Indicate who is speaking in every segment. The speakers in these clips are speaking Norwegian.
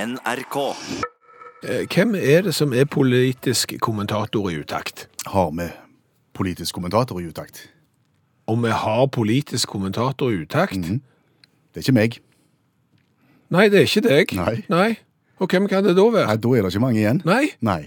Speaker 1: NRK.
Speaker 2: Eh, Hvem er det som er politisk kommentator i utakt?
Speaker 3: Har vi politisk kommentator i utakt?
Speaker 2: Om vi har politisk kommentator i utakt?
Speaker 3: Mm. Det er ikke meg.
Speaker 2: Nei, det er ikke deg.
Speaker 3: Nei.
Speaker 2: Og hvem kan det da være?
Speaker 3: Nei, Da er det ikke mange igjen.
Speaker 2: Nei.
Speaker 3: Nei.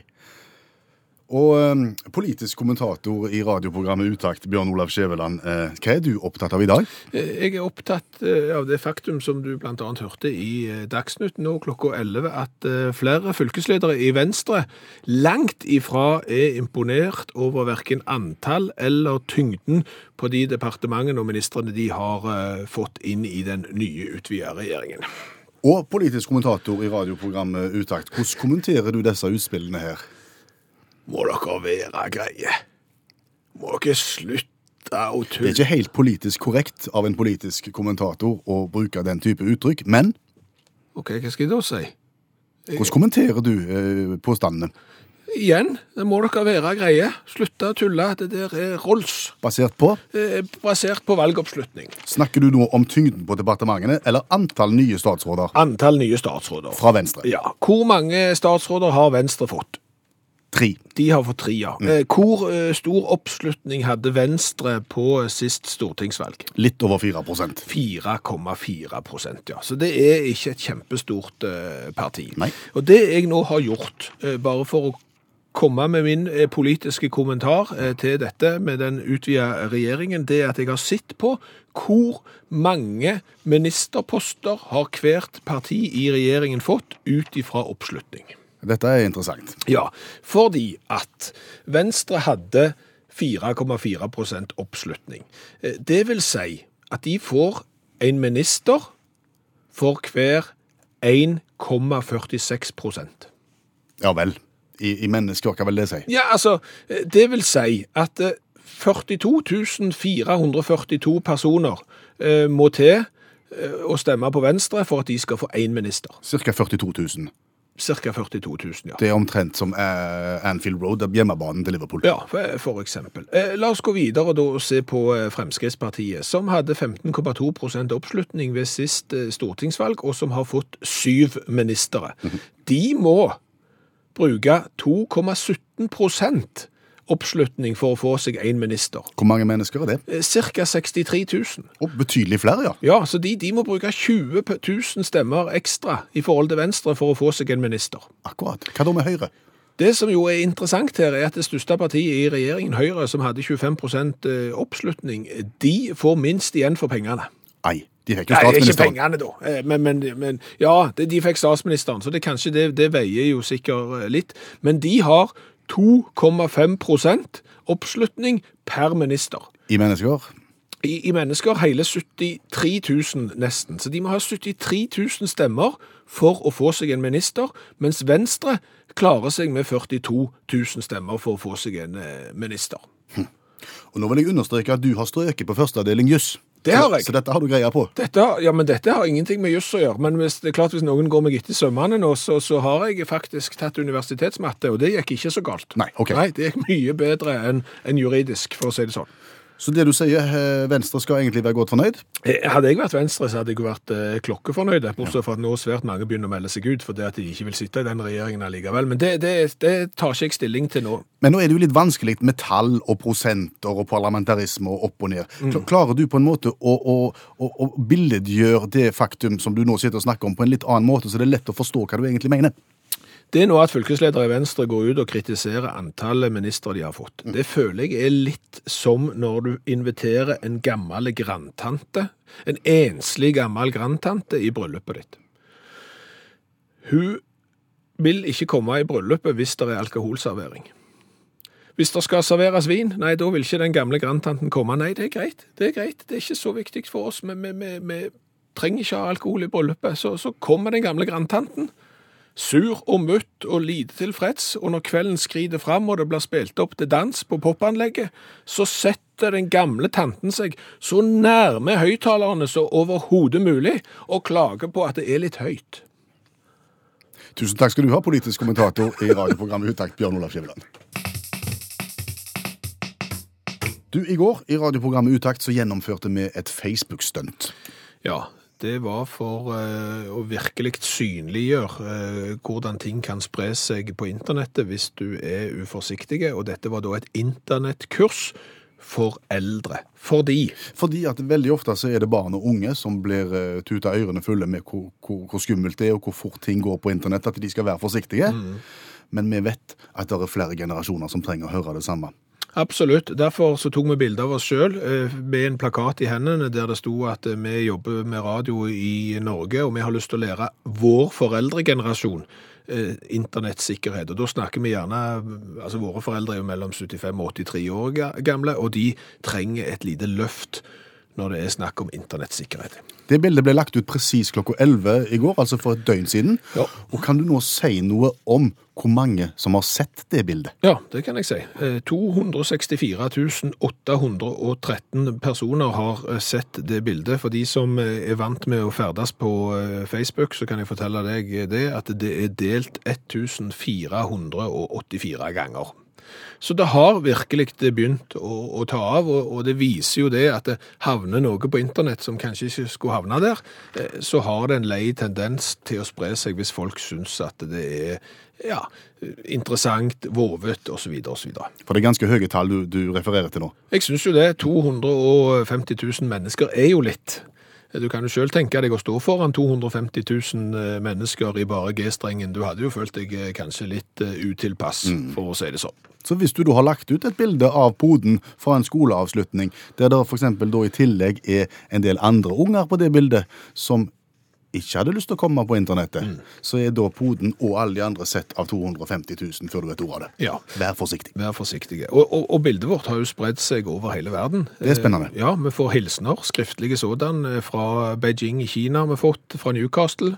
Speaker 3: Og øhm, politisk kommentator i radioprogrammet Utakt, Bjørn Olav Skjæveland, eh, hva er du opptatt av i dag?
Speaker 2: Eh, Jeg er opptatt eh, av det faktum som du blant annet hørte i eh, Dagsnytt nå klokka 11, at eh, flere fylkesledere i Venstre langt ifra er imponert over hverken antall eller tyngden på de departementene og ministrene de har eh, fått inn i den nye utvida regjeringen.
Speaker 3: Og politisk kommentator i radioprogrammet Utakt, hvordan kommenterer du disse utspillene her?
Speaker 2: Må dere være greie. Må dere slutte å
Speaker 3: Det er
Speaker 2: tulle.
Speaker 3: ikke helt politisk korrekt av en politisk kommentator å bruke den type uttrykk, men
Speaker 2: Ok, hva skal jeg da si?
Speaker 3: hvordan kommenterer du eh, påstandene?
Speaker 2: Igjen, det må dere være greie. Slutte å tulle. Det der er Rolls.
Speaker 3: Basert på
Speaker 2: Eh, Basert på valgoppslutning.
Speaker 3: Snakker du nå om tyngden på departementene eller antall nye statsråder
Speaker 2: Antall nye statsråder.
Speaker 3: fra Venstre?
Speaker 2: Ja. Hvor mange statsråder har Venstre fått?
Speaker 3: Tre.
Speaker 2: De har fått tre, ja.
Speaker 3: Mm.
Speaker 2: Eh, Hvor eh, stor oppslutning hadde Venstre på eh, sist stortingsvalg?
Speaker 3: Litt over 4 prosent.
Speaker 2: 4,4 prosent, ja. Så det er ikke et kjempestort eh, parti.
Speaker 3: Nei.
Speaker 2: Og det jeg nå har gjort, eh, bare for å komme med min eh, politiske kommentar eh, til dette med den utvida regjeringen, det er at jeg har sett på hvor mange ministerposter har hvert parti i regjeringen fått ut ifra oppslutning.
Speaker 3: Dette er interessant.
Speaker 2: Ja, fordi at Venstre hadde 4,4 prosent oppslutning. Eh, Det vil si at de får en minister for hver 1,46 prosent.
Speaker 3: Ja vel. I, i mennesker, hva vil det si?
Speaker 2: Ja, altså, eh, det vil si at eh, 42 442 personer eh, må til eh, å stemme på Venstre for at de skal få én minister.
Speaker 3: Ca. 42 000.
Speaker 2: Cirka 42 000, ja.
Speaker 3: Det er omtrent som eh, Anfield Road, det er hjemmebanen til Liverpool.
Speaker 2: Ja, for- for eksempel. Eh, La oss gå videre da og se på eh, Fremskrittspartiet, som hadde 15,2 prosent oppslutning ved sist eh, stortingsvalg, og som har fått syv ministre. De må bruke 2,17 prosent oppslutning for å få seg en minister.
Speaker 3: Hvor mange mennesker er det?
Speaker 2: Eh, Cirka 63 000.
Speaker 3: Og betydelig flere, ja.
Speaker 2: Ja, så de, de må bruke 20 000 stemmer ekstra i forhold til Venstre for å få seg en minister.
Speaker 3: Akkurat. Hva da med Høyre?
Speaker 2: Det som jo er interessant her, er at det største partiet i regjeringen, Høyre, som hadde 25 oppslutning, de får minst igjen for pengene.
Speaker 3: Nei, de fikk jo
Speaker 2: Nei, ikke
Speaker 3: statsministeren.
Speaker 2: pengene, da. Eh, Men, men, men ja, det- de fikk statsministeren, så det, kanskje det, det veier jo sikkert eh, litt. Men de har 2,5 oppslutning per minister.
Speaker 3: I mennesker?
Speaker 2: I, I mennesker hele 73 000 nesten. Så de må ha 73 000 stemmer for å få seg en minister, mens Venstre klarer seg med 42 000 stemmer for å få seg en eh, minister.
Speaker 3: Og nå vil jeg understreke at du har strøket på førsteavdeling juss.
Speaker 2: Det har jeg.
Speaker 3: Så, så dette har du greia på.
Speaker 2: Dette, ja, men dette har ingenting med juss å gjøre, men hvis, det er klart hvis noen går meg etter i sømmene nå, så, så har jeg faktisk tatt universitetsmatte, og det gikk ikke så galt.
Speaker 3: Nei, ok.
Speaker 2: Nei, det gikk mye bedre enn enn juridisk, for å si det sånn.
Speaker 3: Så det du sier, eh, Venstre skal egentlig være godt fornøyd?
Speaker 2: Eh, Hadde jeg vært Venstre, så hadde jeg vært eh, klokkefornøyd. Bortsett fra at nå svært mange begynner å melde seg ut fordi at de ikke vil sitte i den regjeringen allikevel. Men det, det, det tar ikke jeg stilling til nå.
Speaker 3: Men nå er det jo litt vanskelig med tall og prosenter og parlamentarisme og opp og ned. Kla- Klarer du på en måte å, å, å, å billedgjøre det faktum som du nå sitter og snakker om, på en litt annen måte, så det er lett å forstå hva du egentlig mener?
Speaker 2: Det er nå at fylkesledere i Venstre går ut og kritiserer antallet ministre de har fått. Det føler jeg er litt som når du inviterer en gammel grandtante, en enslig gammel grandtante, i bryllupet ditt. Hun vil ikke komme i bryllupet hvis det er alkoholservering. Hvis det skal serveres vin, nei, da vil ikke den gamle grandtanten komme. Nei, det er greit, det er greit, det er ikke så viktig for oss, men vi- vi vi trenger ikke ha alkohol i bryllupet. Så, så kommer den gamle grandtanten. Sur og mutt og lite tilfreds, og når kvelden skrider fram og det blir spilt opp til dans på popanlegget, så setter den gamle tanten seg så nærme høyttalerne som overhodet mulig, og klager på at det er litt høyt.
Speaker 3: Tusen takk skal du ha, politisk kommentator i radioprogrammet Utakt, Bjørn Olav Skjæveland. Du, I går i radioprogrammet Utakt så gjennomførte vi et Facebook-stunt.
Speaker 2: Ja, Det var for eh, å virkelig synliggjøre eh, hvordan ting kan spre seg på internettet hvis du er uforsiktig. Og dette var da et internettkurs for eldre. Fordi
Speaker 3: Fordi at veldig ofte så er det barn og unge som blir eh, tuta ørene fulle med hvor, hvor, hvor skummelt det er, og hvor fort ting går på internett, at de skal være forsiktige. Men vi vet at det er flere generasjoner som trenger å høre det samme.
Speaker 2: Absolutt. Derfor så tok vi bilde av oss sjøl med en plakat i hendene der det sto at eh, vi jobber med radio i Norge, og vi har lyst til å lære vår foreldregenerasjon eh, internettsikkerhet. Og da snakker vi gjerne Altså, våre foreldre er jo mellom 75 og 83 år ga- gamle, og de trenger et lite løft når det er snakk om internettsikkerhet.
Speaker 3: Det bildet ble lagt ut presis klokka 11 i går, altså for et døgn siden.
Speaker 2: Ja.
Speaker 3: Og kan du nå si noe om hvor mange som har sett det bildet?
Speaker 2: Ja, det kan jeg si. Eh, 264 813 personer har eh, sett det bildet. For de som eh, er vant med å ferdes på eh, Facebook, så kan jeg fortelle deg eh, det, at det er delt 1484 ganger. Så det har virkelig det begynt å, å ta av, og, og det viser jo det at det havner noe på internett som kanskje ikke skulle havne der, eh, så har det en lei tendens til å spre seg hvis folk syns at det er ja, interessant, vovet osv. osv.
Speaker 3: For det er ganske høye tall du, du refererer til nå.
Speaker 2: Jeg syns jo det. 250 000 mennesker er jo litt. Du kan jo sjøl tenke deg å stå foran 250 000 eh, mennesker i bare G-strengen. Du hadde jo følt deg eh, kanskje litt eh, utilpass, for å si det sånn.
Speaker 3: Så hvis du da har lagt ut et bilde av poden fra en skoleavslutning, der det f.eks. da i tillegg er en del andre unger på det bildet som ikke hadde lyst til å komme på internettet,
Speaker 2: Mm.
Speaker 3: så er da poden og alle de andre sett av 250 000 før du vet ordet av det.
Speaker 2: Ja.
Speaker 3: Vær forsiktig.
Speaker 2: Vær forsiktige. Og, og, og bildet vårt har jo spredt seg over hele verden.
Speaker 3: Det er spennende.
Speaker 2: Eh, Ja, vi får hilsener, skriftlige sådan, eh, fra Beijing i Kina har vi fått, fra Newcastle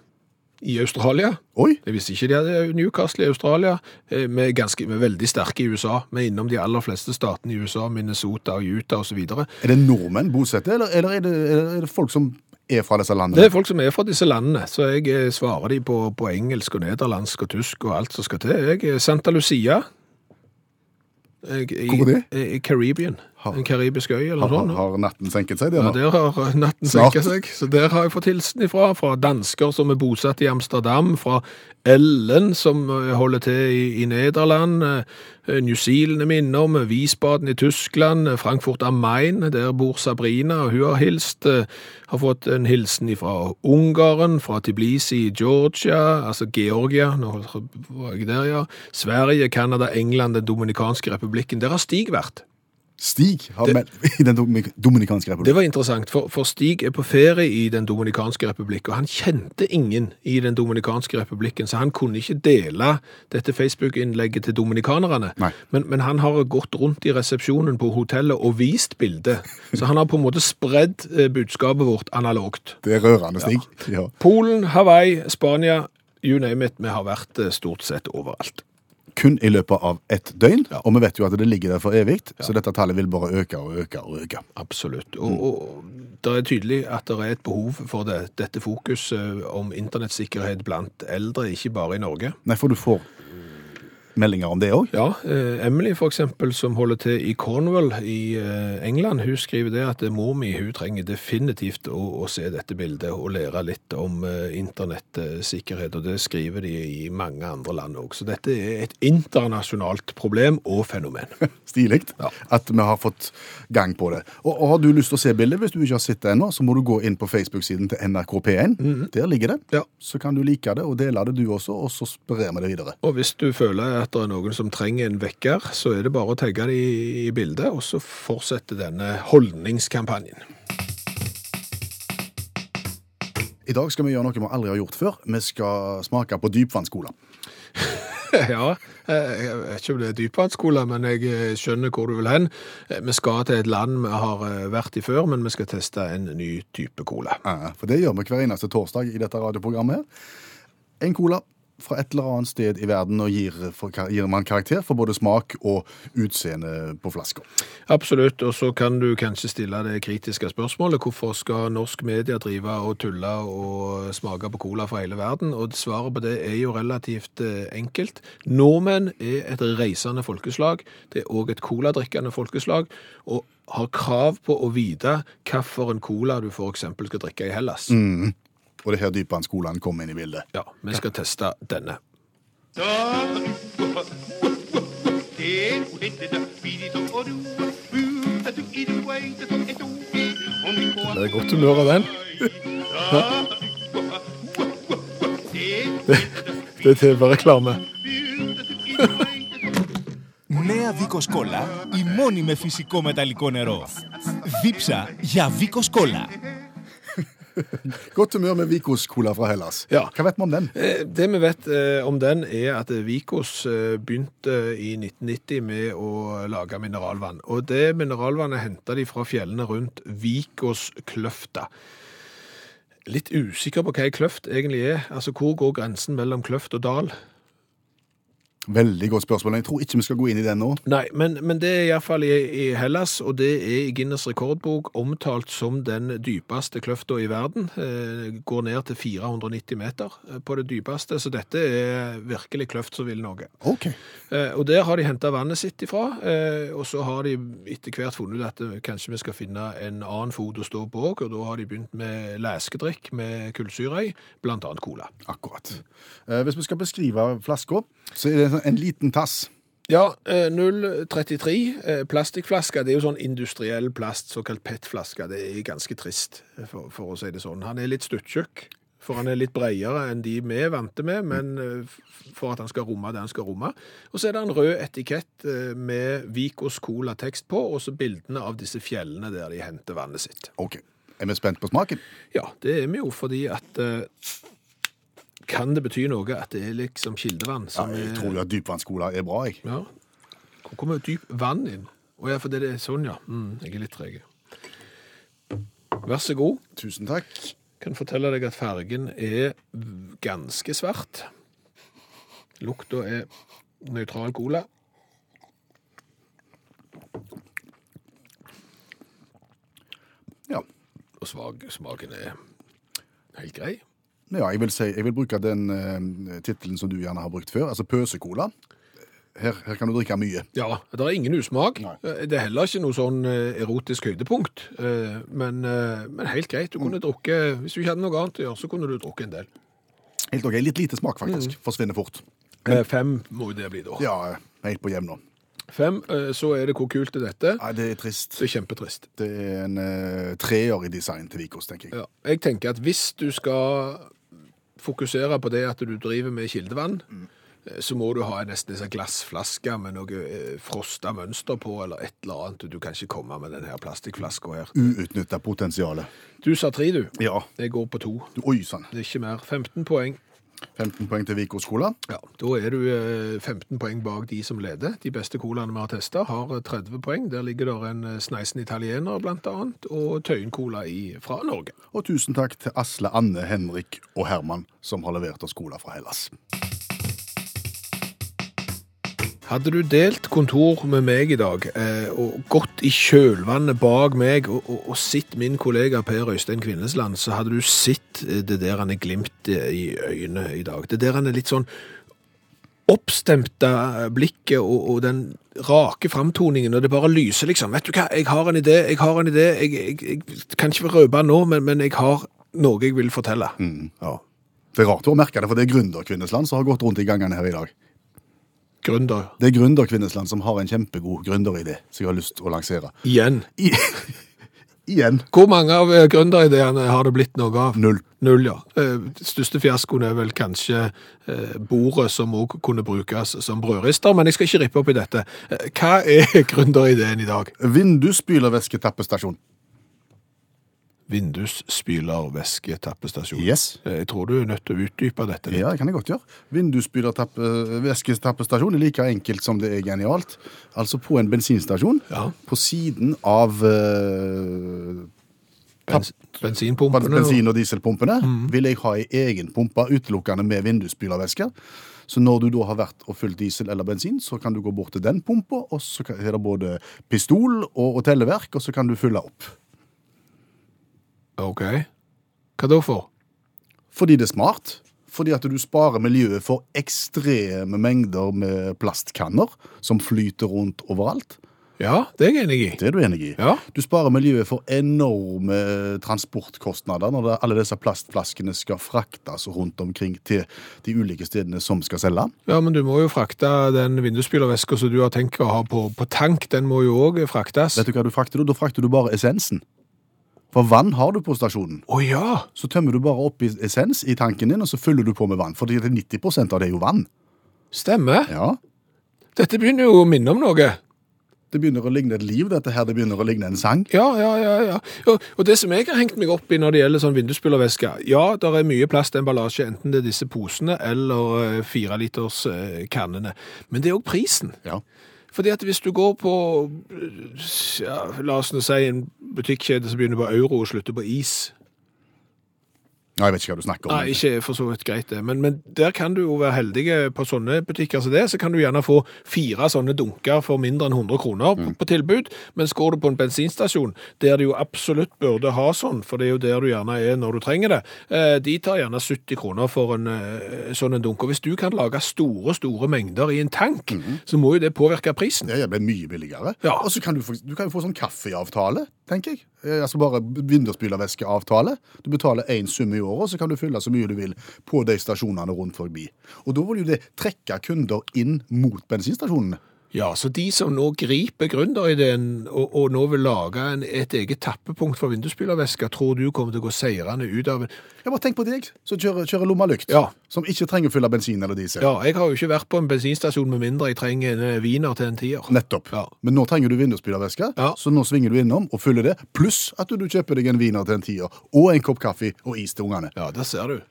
Speaker 2: i Australia.
Speaker 3: Oi!
Speaker 2: Jeg visste ikke de hadde Newcastle i Australia. Eh, Vi er, ganske, vi er veldig sterke i USA. Vi er innom de aller fleste statene i USA, Minnesota og Utah osv.
Speaker 3: Er det nordmenn bosatte, eller, eller er, det, er det folk som er fra disse landene?
Speaker 2: Det er folk som er fra disse landene, så jeg eh, svarer de på, på engelsk og nederlandsk og tysk og alt som skal til. Jeg er Santa Lucia. Jeg, i,
Speaker 3: Hvor er det?
Speaker 2: I Caribbean.
Speaker 3: Har-
Speaker 2: en karibisk øy eller
Speaker 3: Har,
Speaker 2: noe sånt.
Speaker 3: har, har natten senket seg, det
Speaker 2: sånn. Ja,
Speaker 3: nå?
Speaker 2: der har natten
Speaker 3: Snart.
Speaker 2: senket seg. Så der har jeg fått hilsen ifra. Fra dansker som er bosatt i Amsterdam, fra Ellen som eh, holder til i, i Nederland, eh, New Zealand er vi innom, eh, Wiesbaden i Tyskland, eh, Frankfurt am Main, der bor Sabrina, og hun har hilst. eh, Har fått en hilsen fra Ungarn, fra Tbilisi i Georgia, altså Georgia, nå var jeg der, ja. Sverige, Canada, England, Den dominikanske republikken. Der har Stig vært.
Speaker 3: Stig har meldt i Den Dominik- dominikanske
Speaker 2: Det
Speaker 3: republikk.
Speaker 2: var interessant, for, for Stig er på ferie i Den dominikanske republikk, og han kjente ingen i Den dominikanske republikken, så han kunne ikke dele dette Facebook-innlegget til dominikanerne.
Speaker 3: Nei.
Speaker 2: Men, men han har gått rundt i resepsjonen på hotellet og vist bildet, så han har på en måte spredd eh, budskapet vårt analogt.
Speaker 3: Det er rørende, Stig. Ja.
Speaker 2: Polen, Hawaii, Spania, you name it, vi har vært eh, stort sett overalt.
Speaker 3: Kun i løpet av ett døgn, og vi vet jo at det ligger der for evig, så dette tallet vil bare øke og øke og øke.
Speaker 2: Absolutt. Og, og det er tydelig at det er et behov for det, dette fokuset eh, om internettsikkerhet blant eldre, ikke bare i Norge.
Speaker 3: Nei, for du får mm, meldinger om det òg.
Speaker 2: Ja, eh, Emily for eksempel, som holder til i Cornwall i eh, England, hun skriver det at eh, mor mi hun trenger definitivt å, å se dette bildet og lære litt om eh, internettsikkerhet, og det skriver de i mange andre land òg. Så dette er et internasjonalt problem og fenomen.
Speaker 3: Stilig. At vi har fått gang på det. Og, og har du lyst til å se bildet, hvis du ikke har sett det ennå, så må du gå inn på Facebook-siden til NRK P1.
Speaker 2: Mm.
Speaker 3: Der ligger det.
Speaker 2: Ja.
Speaker 3: Så kan du like det og dele det, du også, og så sprer vi det videre.
Speaker 2: Og hvis du føler at det er noen som trenger en vekker, så er det bare å tagge det i, i bildet, og så fortsetter denne holdningskampanjen.
Speaker 3: I dag skal vi gjøre noe vi aldri har gjort før. Vi skal smake på dypvannscola.
Speaker 2: Ja, eh, jeg vet ikke om det er dypvannsskole, men jeg eh, skjønner hvor du vil hen. Eh, Vi skal til et land vi har eh, vært i før, men vi skal teste en ny type cola.
Speaker 3: Ja, For det gjør vi hver eneste torsdag i dette radioprogrammet. her. En cola fra et eller annet sted i verden og gir, for, gir man karakter for både smak og utseende på flasker.
Speaker 2: Absolutt, og så kan du kanskje stille det kritiske spørsmålet. Hvorfor skal norsk media drive og tulle og smake på cola fra hele verden? Og svaret på det er jo relativt eh, enkelt. Nordmenn er et reisende folkeslag. Det er òg et coladrikkende folkeslag. og har krav på å vite hvilken cola du f.eks. skal drikke i Hellas.
Speaker 3: Og det er her dypvannskolaen kommer inn i bildet.
Speaker 2: Ja, Vi skal teste denne.
Speaker 1: Det
Speaker 2: er godt humør av den. Det er TV-reklame.
Speaker 4: Νέα Βίκος Κόλλα, η μόνη με φυσικό μεταλλικό νερό. Δίψα για Βίκος Κόλλα.
Speaker 3: Godt humør med Vikos cola fra Hellas.
Speaker 2: Ja.
Speaker 3: Hva vet vi om den?
Speaker 2: Eh, Det vi vet eh, om den, er at eh, Vikos eh, begynte i 1990 med å lage mineralvann. Og det mineralvannet henta de fra fjellene rundt Vikoskløfta. Litt usikker på hva ei kløft egentlig er. Altså, Hvor går grensen mellom kløft og dal?
Speaker 3: Veldig godt spørsmål. Jeg tror ikke vi skal gå inn i den nå.
Speaker 2: Nei, men, men det er iallfall i, i Hellas, og det er i Guinness rekordbok omtalt som den dypeste kløfta i verden. Eh, går ned til 490 meter eh, på det dypeste, så dette er virkelig kløft som vil noe.
Speaker 3: Ok.
Speaker 2: Eh, Og der har de henta vannet sitt ifra, eh, og så har de etter hvert funnet ut at eh, kanskje vi skal finne en annen fot å stå på òg, og da har de begynt med leskedrikk med kullsyre i, blant annet cola.
Speaker 3: Akkurat. Eh, Hvis vi skal beskrive flaska, så er det en sånn- en liten tass.
Speaker 2: Ja, eh, 033, eh, plastikkflaske, det er jo sånn industriell plast, såkalt PET-flaske, det er ganske trist, eh, for, for å si det sånn. Han er litt stuttjukk, for han er litt bredere enn de vi er vante med, men eh, f- for at han skal romme det han skal romme. Og så er det en rød etikett eh, med Vikos Cola-tekst på, og så bildene av disse fjellene der de henter vannet sitt.
Speaker 3: Ok. Er vi spent på smaken?
Speaker 2: Ja, det er vi jo fordi at... eh, Kan det bety noe at det er liksom kildevann?
Speaker 3: Ja, eh,
Speaker 2: som
Speaker 3: jeg
Speaker 2: er-
Speaker 3: tror jo at dypvannscola er bra, jeg.
Speaker 2: Ja. Hvor kommer dyp vann inn? Å ja, for det er sånn, ja. Mm, jeg er litt treg. Vær så god.
Speaker 3: Tusen takk.
Speaker 2: Kan fortelle deg at fargen er v- ganske svart. Lukta er nøytral cola.
Speaker 3: Ja.
Speaker 2: Og svag, smaken er helt grei.
Speaker 3: Ja, jeg vil, si, jeg vil bruke den uh, tittelen som du gjerne har brukt før, altså pøsekola. Her, her kan du drikke mye.
Speaker 2: Ja, det er ingen usmak.
Speaker 3: Nei.
Speaker 2: Eh, Det er heller ikke noe sånn eh, erotisk høydepunkt. Eh, Men, eh, men helt greit. Du kunne drukke, hvis du ikke hadde noe annet å gjøre, så kunne du drukke en del.
Speaker 3: Helt ok, Litt lite smak, faktisk. Mm. Forsvinner fort.
Speaker 2: Eh, Fem må jo det bli, da.
Speaker 3: Ja, helt på jevn nå.
Speaker 2: Fem, eh, så er det hvor kult er dette.
Speaker 3: Nei, det er trist.
Speaker 2: Det er kjempetrist.
Speaker 3: Det er en eh, treer i design til Vikos, tenker jeg.
Speaker 2: Ja. Jeg tenker at hvis du skal fokusere på det at du driver med kildevann, eh, så må du ha en nesten en sånn glassflaske med noe eh, frosta mønster på, eller et eller annet. Du kan ikke komme med denne plastikkflaska her.
Speaker 3: Uutnytta potensialet.
Speaker 2: Du sa tre, du.
Speaker 3: Ja.
Speaker 2: Jeg går på to.
Speaker 3: Du, oi sann.
Speaker 2: Det er ikke mer. 15 poeng.
Speaker 3: 15 poeng til Vikos cola.
Speaker 2: Ja, Da er du eh, 15 poeng bak de som leder. De beste colaene vi har testa, har eh, 30 poeng. Der ligger der en eh, Sneisen italiener, blant annet, og Tøyen Cola i- fra Norge.
Speaker 3: Og tusen takk til Asle, Anne, Henrik og Herman, som har levert oss cola fra Hellas.
Speaker 2: Hadde du delt kontor med meg i dag, eh, og gått i kjølvannet bak meg og, og, og sett min kollega Per Øystein Kvinnesland, så hadde du sett eh, det der han er glimt eh, i øynene i dag. Det der han er litt sånn oppstemte eh, blikket og, og den rake framtoningen, og det bare lyser liksom. Vet du hva, jeg har en idé, jeg har en idé, jeg, jeg, jeg kan ikke røpe nå, men, men jeg har noe jeg vil fortelle.
Speaker 3: Mm.
Speaker 2: Ja.
Speaker 3: Det er rart å merke det, for det er Gründerkvinnesland som har gått rundt i gangene her i dag.
Speaker 2: Gründer.
Speaker 3: Det er Gründerkvinnesland som har en kjempegod gründeridé som jeg har lyst til å lansere.
Speaker 2: Igjen.
Speaker 3: I, igjen
Speaker 2: Hvor mange av eh, gründerideene har det blitt noe av?
Speaker 3: null.
Speaker 2: Null, ja. Eh, Største fiaskoen er vel kanskje eh, bordet som òg kunne brukes som brødrister, men jeg skal ikke rippe opp i dette. Eh, Hva er gründerideen i dag?
Speaker 3: Vindusspylervæsketappestasjon.
Speaker 2: Vindusspylervæsketappestasjon.
Speaker 3: Yes.
Speaker 2: Eh, Jeg tror du er nødt til å utdype dette. litt.
Speaker 3: Ja, det kan jeg godt gjøre. Vindusspylervæsketappestasjon er like enkelt som det er genialt. Altså på en bensinstasjon,
Speaker 2: Ja.
Speaker 3: på siden av eh,
Speaker 2: Bens bensinpumpene. og-
Speaker 3: bensin- og dieselpumpene, vil jeg ha ei egen pumpe utelukkende med vindusspylervæsker. Så når du da har vært og fylt diesel eller bensin, så kan du gå bort til den pumpa, og så kan- er det både pistol og, og telleverk, og så kan du fylle opp.
Speaker 2: Ok. Hva da for?
Speaker 3: Fordi det er smart. Fordi at du sparer miljøet for ekstreme mengder med plastkanner som flyter rundt overalt.
Speaker 2: Ja, det er jeg enig i.
Speaker 3: Det er du enig i?
Speaker 2: Ja.
Speaker 3: Du sparer miljøet for enorme transportkostnader når det, alle disse plastflaskene skal fraktes rundt omkring til de ulike stedene som skal selge.
Speaker 2: Ja, men du må jo frakte den vindusspylerveska som du har tenkt å ha på, på tank, den må jo òg fraktes.
Speaker 3: Vet du hva du frakter? da? Da frakter du bare essensen. For vann har du på stasjonen.
Speaker 2: Å ja!
Speaker 3: Så tømmer du bare opp i essens i tanken din, og så fyller du på med vann. For 90 av det er jo vann.
Speaker 2: Stemmer.
Speaker 3: Ja.
Speaker 2: Dette begynner jo å minne om noe.
Speaker 3: Det begynner å ligne et liv, dette her. Det begynner å ligne en sang.
Speaker 2: Ja, ja, ja. ja. Og, og det som jeg har hengt meg opp i når det gjelder sånn vindusspylerveske Ja, det er mye plastemballasje, enten det er disse posene eller eh, fireliterskannene. eh, Men det er òg prisen.
Speaker 3: Ja.
Speaker 2: Fordi at hvis du går på eh, ja, La oss nå si en butikkjede som begynner på euro og slutter på is.
Speaker 3: Ja, jeg vet ikke hva du snakker om.
Speaker 2: Nei, ikke for så vidt greit det, men, men der kan du jo være heldig på sånne butikker som det, så kan du gjerne få fire sånne dunker for mindre enn 100 kroner på, på tilbud, mens går du på en bensinstasjon, der du jo absolutt burde ha sånn, for det er jo der du gjerne er når du trenger det, eh, de tar gjerne 70 kroner for en eh, sånn en dunk, og hvis du kan lage store, store mengder i en tank, så må jo det påvirke prisen.
Speaker 3: Ja, jeg ble mye billigere.
Speaker 2: Ja.
Speaker 3: Og så kan du, få, du kan jo få sånn kaffeavtale, tenker jeg. Eh, Altså bare vindusspylervæskeavtale. Du betaler én sum i året, og så kan du fylle så mye du vil på de stasjonene rundt forbi. Og da vil jo det trekke kunder inn mot bensinstasjonene.
Speaker 2: Ja, så de som nå griper gründerideen og, og nå vil lage en, et eget tappepunkt for vindusspylervesker, tror du kommer til å gå seirende ut av en
Speaker 3: Ja, bare tenk på deg som kjører, kjører lommelykt,
Speaker 2: Ja.
Speaker 3: som ikke trenger å fylle bensin eller diesel.
Speaker 2: Ja, jeg har jo ikke vært på en bensinstasjon med mindre jeg trenger en eh, wiener til en tier.
Speaker 3: Nettopp.
Speaker 2: Ja.
Speaker 3: Men nå trenger du vindusspylervæske,
Speaker 2: Ja.
Speaker 3: så nå svinger du innom og fyller det. Pluss at du kjøper deg en wiener til en tier, og en kopp kaffe og is til ungene.
Speaker 2: Ja, der ser du.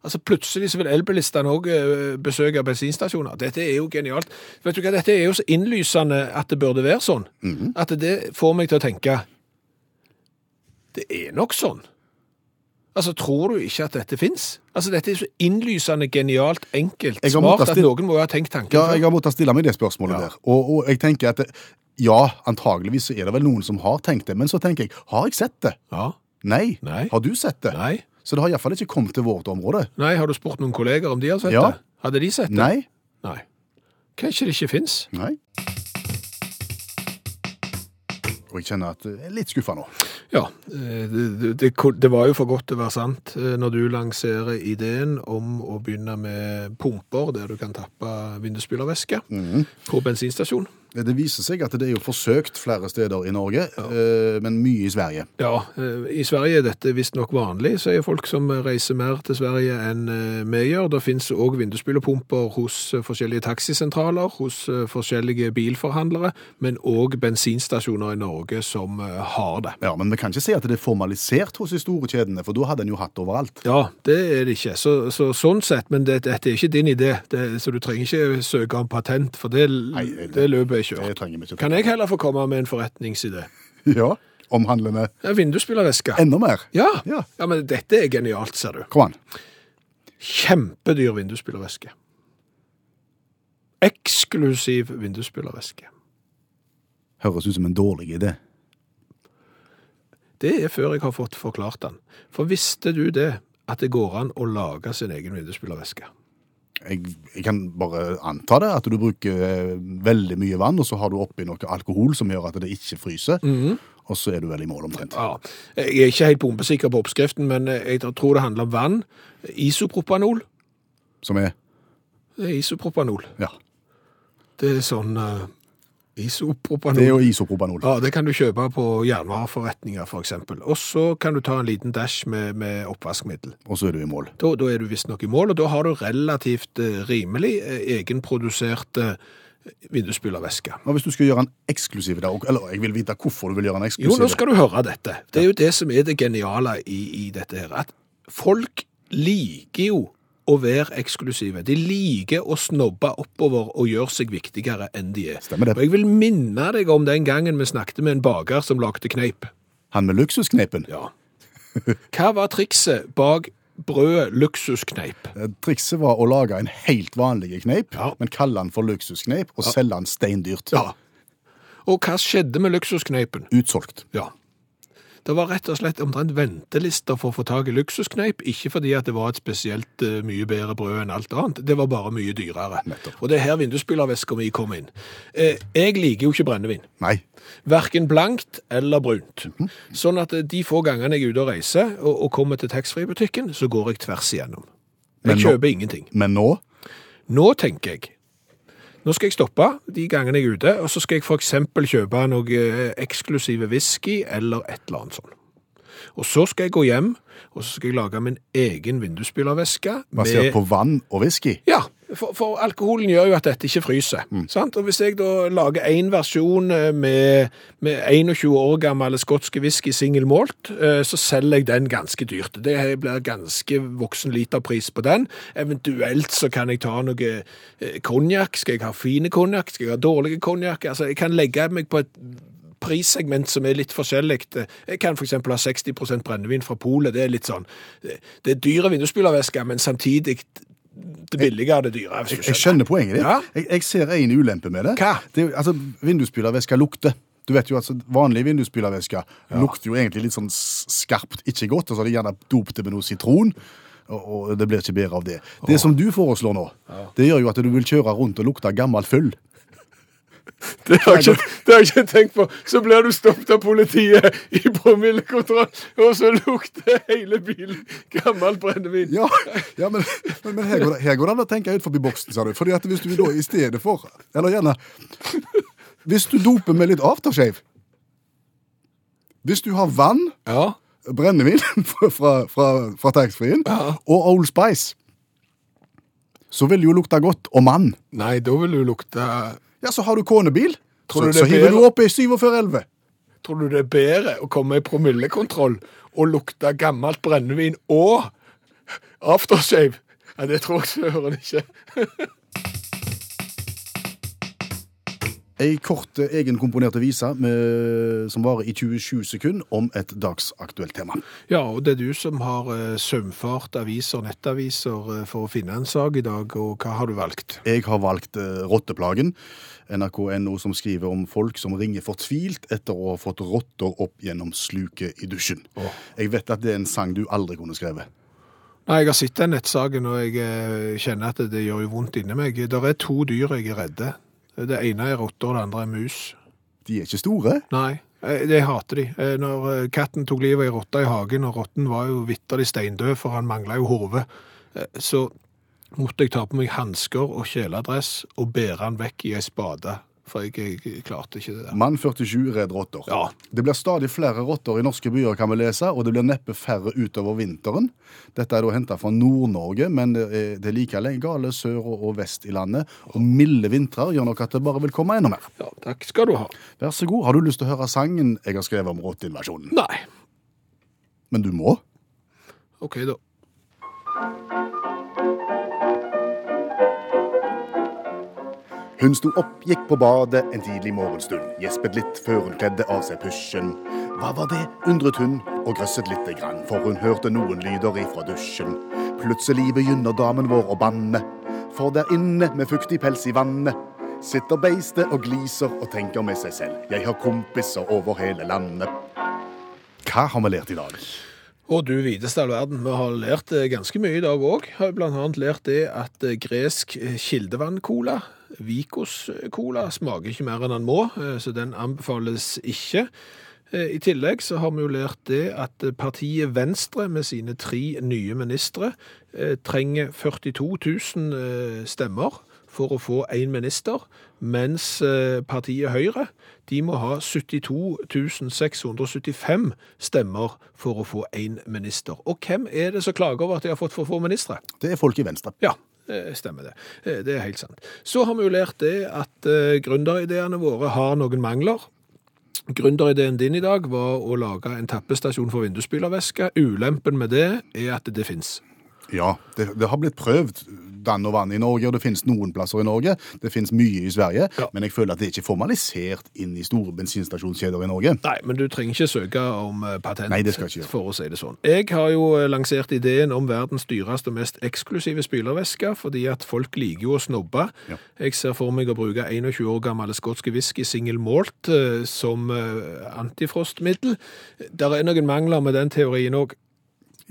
Speaker 2: Altså Plutselig så vil elbilistene òg besøke bensinstasjoner. Dette er jo genialt. Vet du hva, Dette er jo så innlysende at det burde være sånn.
Speaker 3: Mhm.
Speaker 2: At det får meg til å tenke Det er nok sånn. Altså, Tror du ikke at dette fins? Altså, Dette er så innlysende genialt, enkelt,
Speaker 3: Jeg har
Speaker 2: smart
Speaker 3: måttet
Speaker 2: at
Speaker 3: stille-
Speaker 2: noen må jo ha tenkt tanken
Speaker 3: Ja,
Speaker 2: før.
Speaker 3: jeg har måttet stille meg det spørsmålet der. Og, og jeg tenker at det- ja, antageligvis så er det vel noen som har tenkt det, men så tenker jeg, har jeg sett det?
Speaker 2: Ja.
Speaker 3: Nei.
Speaker 2: Nei.
Speaker 3: Har du sett det?
Speaker 2: Nei.
Speaker 3: Så det har iallfall ikke kommet til vårt område.
Speaker 2: Nei, Har du spurt noen kolleger om de har sett
Speaker 3: Ja.
Speaker 2: det? Hadde de sett det?
Speaker 3: Nei.
Speaker 2: Nei. Kanskje det ikke fins?
Speaker 3: Nei. Og jeg kjenner at jeg er litt skuffa nå.
Speaker 2: Ja, eh, det, det, det var jo for godt til å være sant eh, når du lanserer ideen om å begynne med pumper der du kan tappe vindusspylervæske på bensinstasjon.
Speaker 3: Det viser seg at det er jo forsøkt flere steder i Norge, eh, men mye i Sverige.
Speaker 2: Ja, eh, i Sverige er dette visstnok vanlig, sier folk som reiser mer til Sverige enn eh, vi gjør. Det finnes òg vindusspylerpumper hos eh, forskjellige taxisentraler, hos eh, forskjellige bilforhandlere, men òg bensinstasjoner i Norge som eh, har det.
Speaker 3: Ja, Men vi kan ikke si at det er formalisert hos de store kjedene, for da hadde en jo hatt overalt.
Speaker 2: Ja, det er det ikke. Så, så, sånn sett, men det, dette er ikke din idé, det, så du trenger ikke søke om patent, for det,
Speaker 3: nei,
Speaker 2: det løpet er
Speaker 3: Det
Speaker 2: kjørt.
Speaker 3: trenger vi ikke.
Speaker 2: Kan jeg heller få komme med en forretningsidé?
Speaker 3: Ja, Omhandlende
Speaker 2: En vindusspillerveske.
Speaker 3: enda mer.
Speaker 2: Ja.
Speaker 3: Ja.
Speaker 2: ja, men dette er genialt, ser du.
Speaker 3: Kom an.
Speaker 2: Kjempedyr vindusspillerveske. Eksklusiv vindusspillerveske.
Speaker 3: Høres ut som en dårlig idé.
Speaker 2: Det er før jeg har fått forklart den. For visste du det, at det går an å lage sin egen vindusspillerveske?
Speaker 3: Jeg, jeg kan bare anta det, at du bruker eh, veldig mye vann, og så har du oppi noe alkohol som gjør at det ikke fryser,
Speaker 2: Mhm.
Speaker 3: og så er du vel i mål omtrent.
Speaker 2: Ja, Jeg er ikke helt bombesikker på oppskriften, men jeg tror det handler om vann, isopropanol.
Speaker 3: Som er,
Speaker 2: Det er isopropanol.
Speaker 3: ja,
Speaker 2: Det er sånn eh, isopropanol.
Speaker 3: det er jo isopropanol.
Speaker 2: Ja, det kan du kjøpe på jernvareforretninger for eksempel. Og så kan du ta en liten dash med, med oppvaskmiddel.
Speaker 3: Og så er du i mål.
Speaker 2: Da, da er du visst nok i mål, og da har du relativt eh, rimelig eh, egenprodusert eh, vindusspylerveske.
Speaker 3: Og hvis du skal gjøre en eksklusiv i dag, og- eller jeg vil vite hvorfor du vil gjøre en eksklusiv.
Speaker 2: Jo, nå skal du høre dette. Det er jo det som er det geniale i, i dette her, at folk liker jo å være eksklusive. De liker å snobbe oppover og gjøre seg viktigere enn de er.
Speaker 3: Stemmer det.
Speaker 2: Og jeg vil minne deg om den gangen vi snakket med en baker som lagde kneip.
Speaker 3: Han med luksusknepen.
Speaker 2: Ja. Hva var trikset bak brødet luksuskneip?
Speaker 3: Eh, Trikset var å lage en helt vanlig kneip,
Speaker 2: Ja.
Speaker 3: men kalle den for luksuskneip, og selge den steindyrt.
Speaker 2: Ja. Og hva skjedde med luksuskneipen?
Speaker 3: Utsolgt.
Speaker 2: Ja. Det var rett og slett omtrent ventelister for å få tak i luksuskneip, ikke fordi at det var et spesielt eh, mye bedre brød enn alt annet, det var bare mye dyrere.
Speaker 3: Nettopp.
Speaker 2: Og det er her vindusspillerveska mi kom inn. Eh, jeg liker jo ikke brennevin.
Speaker 3: Nei.
Speaker 2: Verken blankt eller brunt.
Speaker 3: Mhm.
Speaker 2: Sånn at eh, de få gangene jeg er ute og reiser og, og kommer til taxfree-butikken, så går jeg tvers igjennom. Jeg
Speaker 3: Men nå-
Speaker 2: kjøper ingenting.
Speaker 3: Men nå
Speaker 2: Nå tenker jeg nå skal jeg stoppe de gangene jeg er ute, og så skal jeg f.eks. kjøpe noe eh, eksklusive whisky eller et eller annet sånt. Og så skal jeg gå hjem, og så skal jeg lage min egen vindusspylerveske
Speaker 3: basert på vann og whisky.
Speaker 2: ja, for, for alkoholen gjør jo at dette ikke fryser. Sant? Og hvis jeg da lager én versjon eh, med, med 21 år gammel skotske whisky single malt, eh, så selger jeg den ganske dyrt. Det her blir ganske voksen literpris på den. Eventuelt så kan jeg ta noe eh, konjakk. Skal jeg ha fine konjakk? Skal jeg ha dårlige konjakk? Altså, jeg kan legge meg på et prissegment som er litt forskjellig. Jeg kan f.eks. ha 60 brennevin fra Polet. Det er litt sånn Det er dyre vindusspylervæsker, men samtidig det billige og det dyre. Hvis du
Speaker 3: Jeg skjønner poenget ditt.
Speaker 2: Ja.
Speaker 3: Jeg, jeg ser en ulempe med det.
Speaker 2: Hva?
Speaker 3: det er jo- altså, vindusspylervæske lukter. Du vet jo altså, Vanlige vindusspylervæsker lukter jo egentlig litt sånn s- skarpt ikke godt, og så har de gjerne dopt det med noe sitron. Og, og det blir ikke bedre av det. Det som du foreslår nå, det gjør jo at du vil kjøre rundt og lukte gammel fyll.
Speaker 2: Det har jeg ikke, det har jeg ikke tenkt på. Så blir du stoppet av politiet i promillekontroll, og så lukter hele bilen gammel brennevin.
Speaker 3: Ja, ja men, men, men her, går det, her går det an å tenke ut forbi boksen, sa du. Fordi at hvis du da i stedet for Eller gjerne Hvis du doper med litt aftershave Hvis du har vann,
Speaker 2: Ja.
Speaker 3: brennevin fra, fra, fra, fra taxfree-en og Old Spice, så vil det jo lukte godt. Og mann.
Speaker 2: Nei, da vil du lukte
Speaker 3: Ja, så har du konebil,
Speaker 2: Tror du det
Speaker 3: så, så
Speaker 2: er
Speaker 3: hiver
Speaker 2: bedre?
Speaker 3: du opp i 4711.
Speaker 2: Tror du det er bedre å komme i promillekontroll og lukte gammelt brennevin og aftershave? Ja, det tror jeg søren ikke.
Speaker 3: Ei kort eh, egenkomponert vise med- som varer i 27 sekunder, om et dagsaktuelt tema.
Speaker 2: Ja, og det er du som har eh, sømfart aviser, nettaviser, eh, for å finne en sak i dag, og hva har du valgt?
Speaker 3: Jeg har valgt eh, rotteplagen. NRK.no som skriver om folk som ringer fortvilt etter å ha fått rotter opp gjennom sluket i dusjen. Jeg vet at det er en sang du aldri kunne skrevet.
Speaker 2: Nei, jeg har sett den nettsaken, og jeg eh, kjenner at det gjør jo vondt inni meg. Det er to dyr jeg er redde. Det ene er rotter, og det andre er mus.
Speaker 3: De er ikke store.
Speaker 2: Nei, eh, jeg hater de. Eh, Når eh, katten tok livet av ei rotte i hagen, og rotten var jo vitterlig steindød, for han mangla jo hodet, eh, så måtte jeg ta på meg hansker og kjeledress og bære han vekk i ei spade. For jeg, jeg klarte ikke det der.
Speaker 3: Mann 47 redd rotter.
Speaker 2: Ja.
Speaker 3: Det blir stadig flere rotter i norske byer, kan vi lese, og det blir neppe færre utover vinteren. Dette er da henta fra Nord-Norge, men det er- det er like gale sør og og vest i landet. Og milde vintrer gjør nok at det bare vil komme enda mer.
Speaker 2: Ja, takk skal du ha.
Speaker 3: Vær så god, har du lyst til å høre sangen jeg har skrevet om rotteinvasjonen?
Speaker 2: Nei.
Speaker 3: Men du må.
Speaker 2: OK, da.
Speaker 3: Hun sto opp, gikk på badet en tidlig morgenstund. Gjespet litt før hun kledde av seg pysjen. Hva var det, undret hun, og grøsset lite grann, for hun hørte noen lyder ifra dusjen. Plutselig begynner damen vår å banne, for der inne med fuktig pels i vannet sitter beistet og gliser og tenker med seg selv. Jeg har kompiser over hele landet. Hva har vi lært i dag?
Speaker 2: Og du videste all verden, vi har lært eh, ganske mye i dag òg. Har blant annet lært det at eh, gresk eh, kildevanncola, Vicos-cola, smaker ikke mer enn den må, eh, så den anbefales ikke. Eh, I tillegg så har vi jo lært det at eh, partiet Venstre med sine tre nye ministre eh, trenger 42 000 eh, stemmer for å få én minister, mens eh, partiet Høyre de må ha 72 675 stemmer for å få én minister. Og hvem er det som klager over at de har fått for få ministre?
Speaker 3: Det er folk i Venstre.
Speaker 2: Ja, eh, stemmer det. Eh, Det er helt sant. Så har vi jo lært det at eh, gründerideene våre har noen mangler. Gründerideen din i dag var å lage en tappestasjon for vindusspylervæske. Ulempen med det er at det fins.
Speaker 3: Ja, det, det har blitt prøvd dann og vann i Norge, og det finnes noen plasser i Norge. Det finnes mye i Sverige,
Speaker 2: Ja.
Speaker 3: men jeg føler at det er ikke formalisert inn i store bensinstasjonskjeder i Norge.
Speaker 2: Nei, men du trenger ikke søke om eh, patent
Speaker 3: Nei, det skal jeg ikke gjøre.
Speaker 2: for å si det sånn. Jeg har jo eh, lansert ideen om verdens dyreste og mest eksklusive spylervæske, fordi at folk liker jo å snobbe.
Speaker 3: Ja.
Speaker 2: Jeg ser for meg å bruke 21 år gammel skotske whisky single malt eh, som eh, antifrostmiddel. Der er noen mangler med den teorien òg.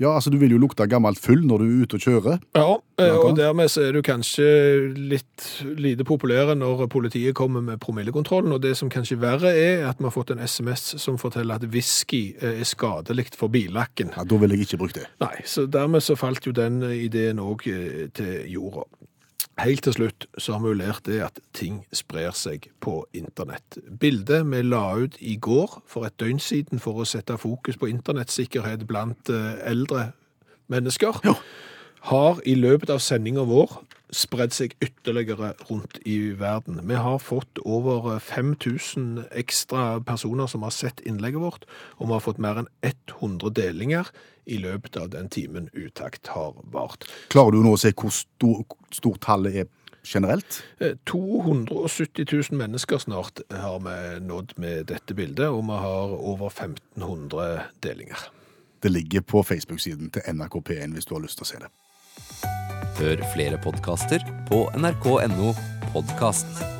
Speaker 3: Ja, altså Du vil jo lukte gammelt full når du er ute og kjører.
Speaker 2: Ja, eh,
Speaker 3: Blant
Speaker 2: og
Speaker 3: annet.
Speaker 2: dermed så er du kanskje litt lite populære når politiet kommer med promillekontrollen, og det som kanskje verre er at vi har fått en SMS som forteller at whisky eh, er skadelig for billakken.
Speaker 3: Ja, Da vil jeg ikke bruke det.
Speaker 2: Nei, så dermed så falt jo den eh, ideen òg til jorda. Helt til slutt så har vi jo lært det at ting sprer seg på internett. Bildet vi la ut i går for et døgn siden for å sette fokus på internettsikkerhet blant eh, eldre mennesker,
Speaker 3: Ja.
Speaker 2: har i løpet av sendinga vår spredd seg ytterligere rundt i verden. Vi har fått over 5000 ekstra personer som har sett innlegget vårt, og vi har fått mer enn 100 delinger i løpet av den timen utakt har vart.
Speaker 3: Klarer du nå å se hvor stor, stort tallet er generelt?
Speaker 2: Eh, 270 000 mennesker snart har vi nådd med dette bildet, og vi har over 1500 delinger.
Speaker 3: Det ligger på Facebook-siden til NRK P1 hvis du har lyst til å se det.
Speaker 1: Hør flere podkaster på nrk.no podkast.